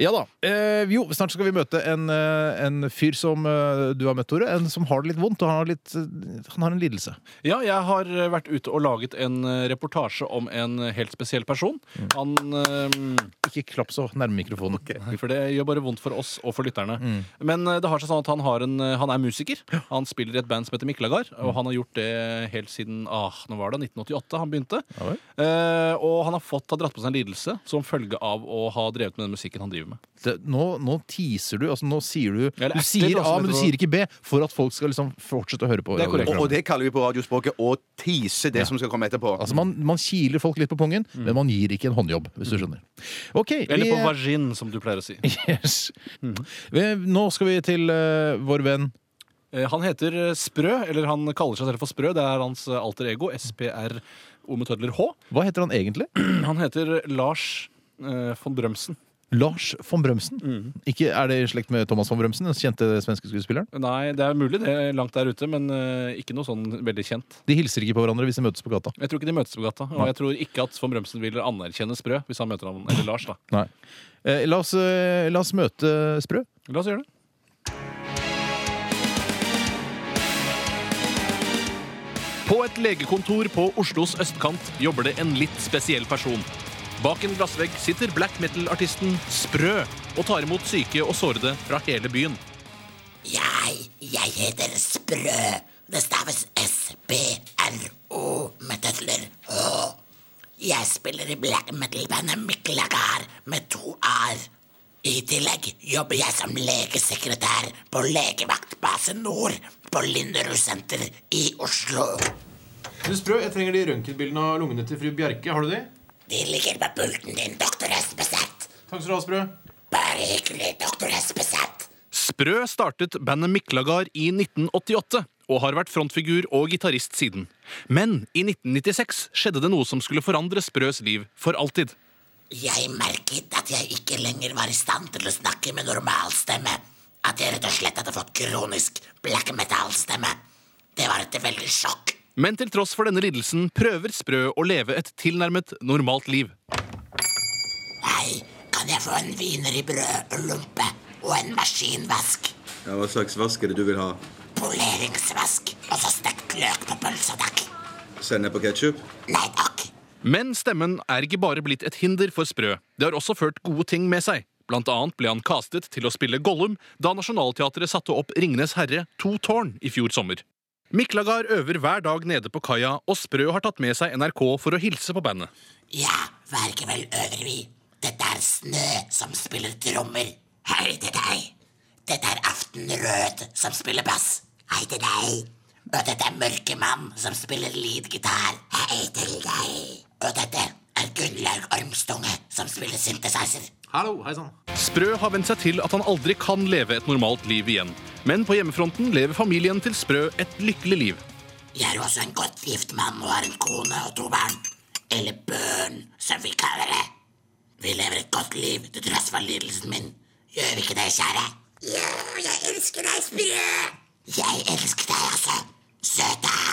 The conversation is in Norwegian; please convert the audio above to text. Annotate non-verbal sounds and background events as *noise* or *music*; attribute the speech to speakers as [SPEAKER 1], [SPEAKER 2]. [SPEAKER 1] Ja da. Eh, jo, snart skal vi møte en, eh, en fyr som eh, du har møtt, Tore. En som har det litt vondt, og han har, litt, eh, han har en lidelse.
[SPEAKER 2] Ja, jeg har eh, vært ute og laget en eh, reportasje om en eh, helt spesiell person. Han eh,
[SPEAKER 1] Ikke klapp så nærme mikrofonen.
[SPEAKER 2] For det gjør bare vondt for oss og for lytterne. Men eh, det har seg sånn at han, har en, eh, han er musiker. Han spiller i et band som heter Miklagard, og han har gjort det helt siden ah, nå var det 1988 han begynte.
[SPEAKER 1] Ja vel.
[SPEAKER 2] Eh, og han har fått har dratt på seg en lidelse som følge av å ha drevet med den musikken han driver med.
[SPEAKER 1] Det, nå, nå teaser du. altså Nå sier du
[SPEAKER 2] Eller
[SPEAKER 1] Du
[SPEAKER 2] erter,
[SPEAKER 1] sier
[SPEAKER 2] da,
[SPEAKER 1] A,
[SPEAKER 2] som
[SPEAKER 1] men du
[SPEAKER 2] det
[SPEAKER 1] sier ikke B, for at folk skal liksom fortsette å høre på.
[SPEAKER 2] Det er korrekt.
[SPEAKER 1] radioprogrammet.
[SPEAKER 3] Og, og det kaller vi på radiospråket å tease det som skal komme etterpå.
[SPEAKER 1] Altså man, man kiler folk litt på pungen, men man gir ikke en håndjobb, hvis du skjønner. Ok,
[SPEAKER 2] Mm. Eller
[SPEAKER 1] vi-
[SPEAKER 2] på Mm. vagin, som du pleier å si.
[SPEAKER 1] *laughs* yes. Vi- Nå skal vi til eh, vår venn
[SPEAKER 2] *laughs* Eh, Han heter eh, Sprø, eller han kaller seg selv for Sprø. Det er hans eh, alter ego. SPR O med tødler H.
[SPEAKER 1] Hva heter han egentlig?
[SPEAKER 2] Han heter Lars eh, von Brømsen.
[SPEAKER 1] Lars von Brømsen. Ikke, er det i slekt med Thomas von Brømsen, den kjente svenske skuespilleren?
[SPEAKER 2] Nei, det er mulig det er langt der ute, men eh, ikke noe sånn veldig kjent.
[SPEAKER 1] De hilser ikke på hverandre hvis de møtes på gata.
[SPEAKER 2] Jeg tror ikke de møtes på gata, og jeg tror ikke at von Brømsen vil anerkjenne Sprø hvis han møter han, eller Lars. da.
[SPEAKER 1] Nei. Eh, la, oss, eh, la oss møte Sprø.
[SPEAKER 2] La oss gjøre det. På et legekontor på Oslos østkant jobber det en litt spesiell person. Bak en glassvegg sitter black metal-artisten Sprø og tar imot syke og sårede fra hele byen.
[SPEAKER 4] Jeg, jeg heter Sprø. Det staves S-B-R-O med tøfler H. Jeg spiller i black metal-bandet Miklagar med to a-er. I tillegg jobber jeg som legesekretær på legevaktbase Nord på Linderud senter i Oslo.
[SPEAKER 5] Du Sprø, jeg trenger de røntgenbildene av lungene til fru Bjerke. Har du de?
[SPEAKER 4] De ligger på pulten din, doktor Espeseth.
[SPEAKER 5] Takk skal du ha, Sprø.
[SPEAKER 4] Bare hyggelig, doktor Espeseth.
[SPEAKER 2] Sprø startet bandet Miklagard i 1988 og har vært frontfigur og gitarist siden. Men i 1996 skjedde det noe som skulle forandre Sprøs liv for alltid.
[SPEAKER 4] Jeg merket at jeg ikke lenger var i stand til å snakke med normal stemme. At jeg rett og slett hadde fått kronisk black metal-stemme. Det var et veldig sjokk.
[SPEAKER 2] Men til tross for denne lidelsen prøver Sprø å leve et tilnærmet normalt liv.
[SPEAKER 4] Hei, kan jeg få en wiener i brød og lompe og en maskinvask?
[SPEAKER 6] Ja, Hva slags vask er det du vil ha?
[SPEAKER 4] Poleringsvask og så stekt løk på pølsa, takk.
[SPEAKER 6] Sennep og ketsjup?
[SPEAKER 4] Nei takk.
[SPEAKER 2] Men stemmen er ikke bare blitt et hinder for Sprø. Det har også ført gode ting med seg. Blant annet ble han castet til å spille Gollum da Nationaltheatret satte opp Ringenes herre To tårn i fjor sommer. Miklagard øver hver dag nede på kaia, og Sprø har tatt med seg NRK for å hilse på bandet.
[SPEAKER 4] Ja, vær ikke vel øver vi. Dette er Snø som spiller trommer. Hei til deg. Dette er Aftenrød som spiller bass. Hei til deg. Og dette er Mørkemann som spiller leadgitar. Hei til deg. Og dette er Gunnlaug Ormstunge som spiller synthesizer.
[SPEAKER 5] Hallo, hei sann.
[SPEAKER 2] Sprø har vent seg til at han aldri kan leve et normalt liv igjen. Men på hjemmefronten lever familien til Sprø et lykkelig liv.
[SPEAKER 4] Jeg er også en godt gift mann og har en kone og to barn. Eller børn, som vi kaller det. Vi lever et godt liv til tross for lidelsen min. Gjør vi ikke det, kjære? Ja, jeg elsker deg, Sprø. Jeg elsker deg også, søta.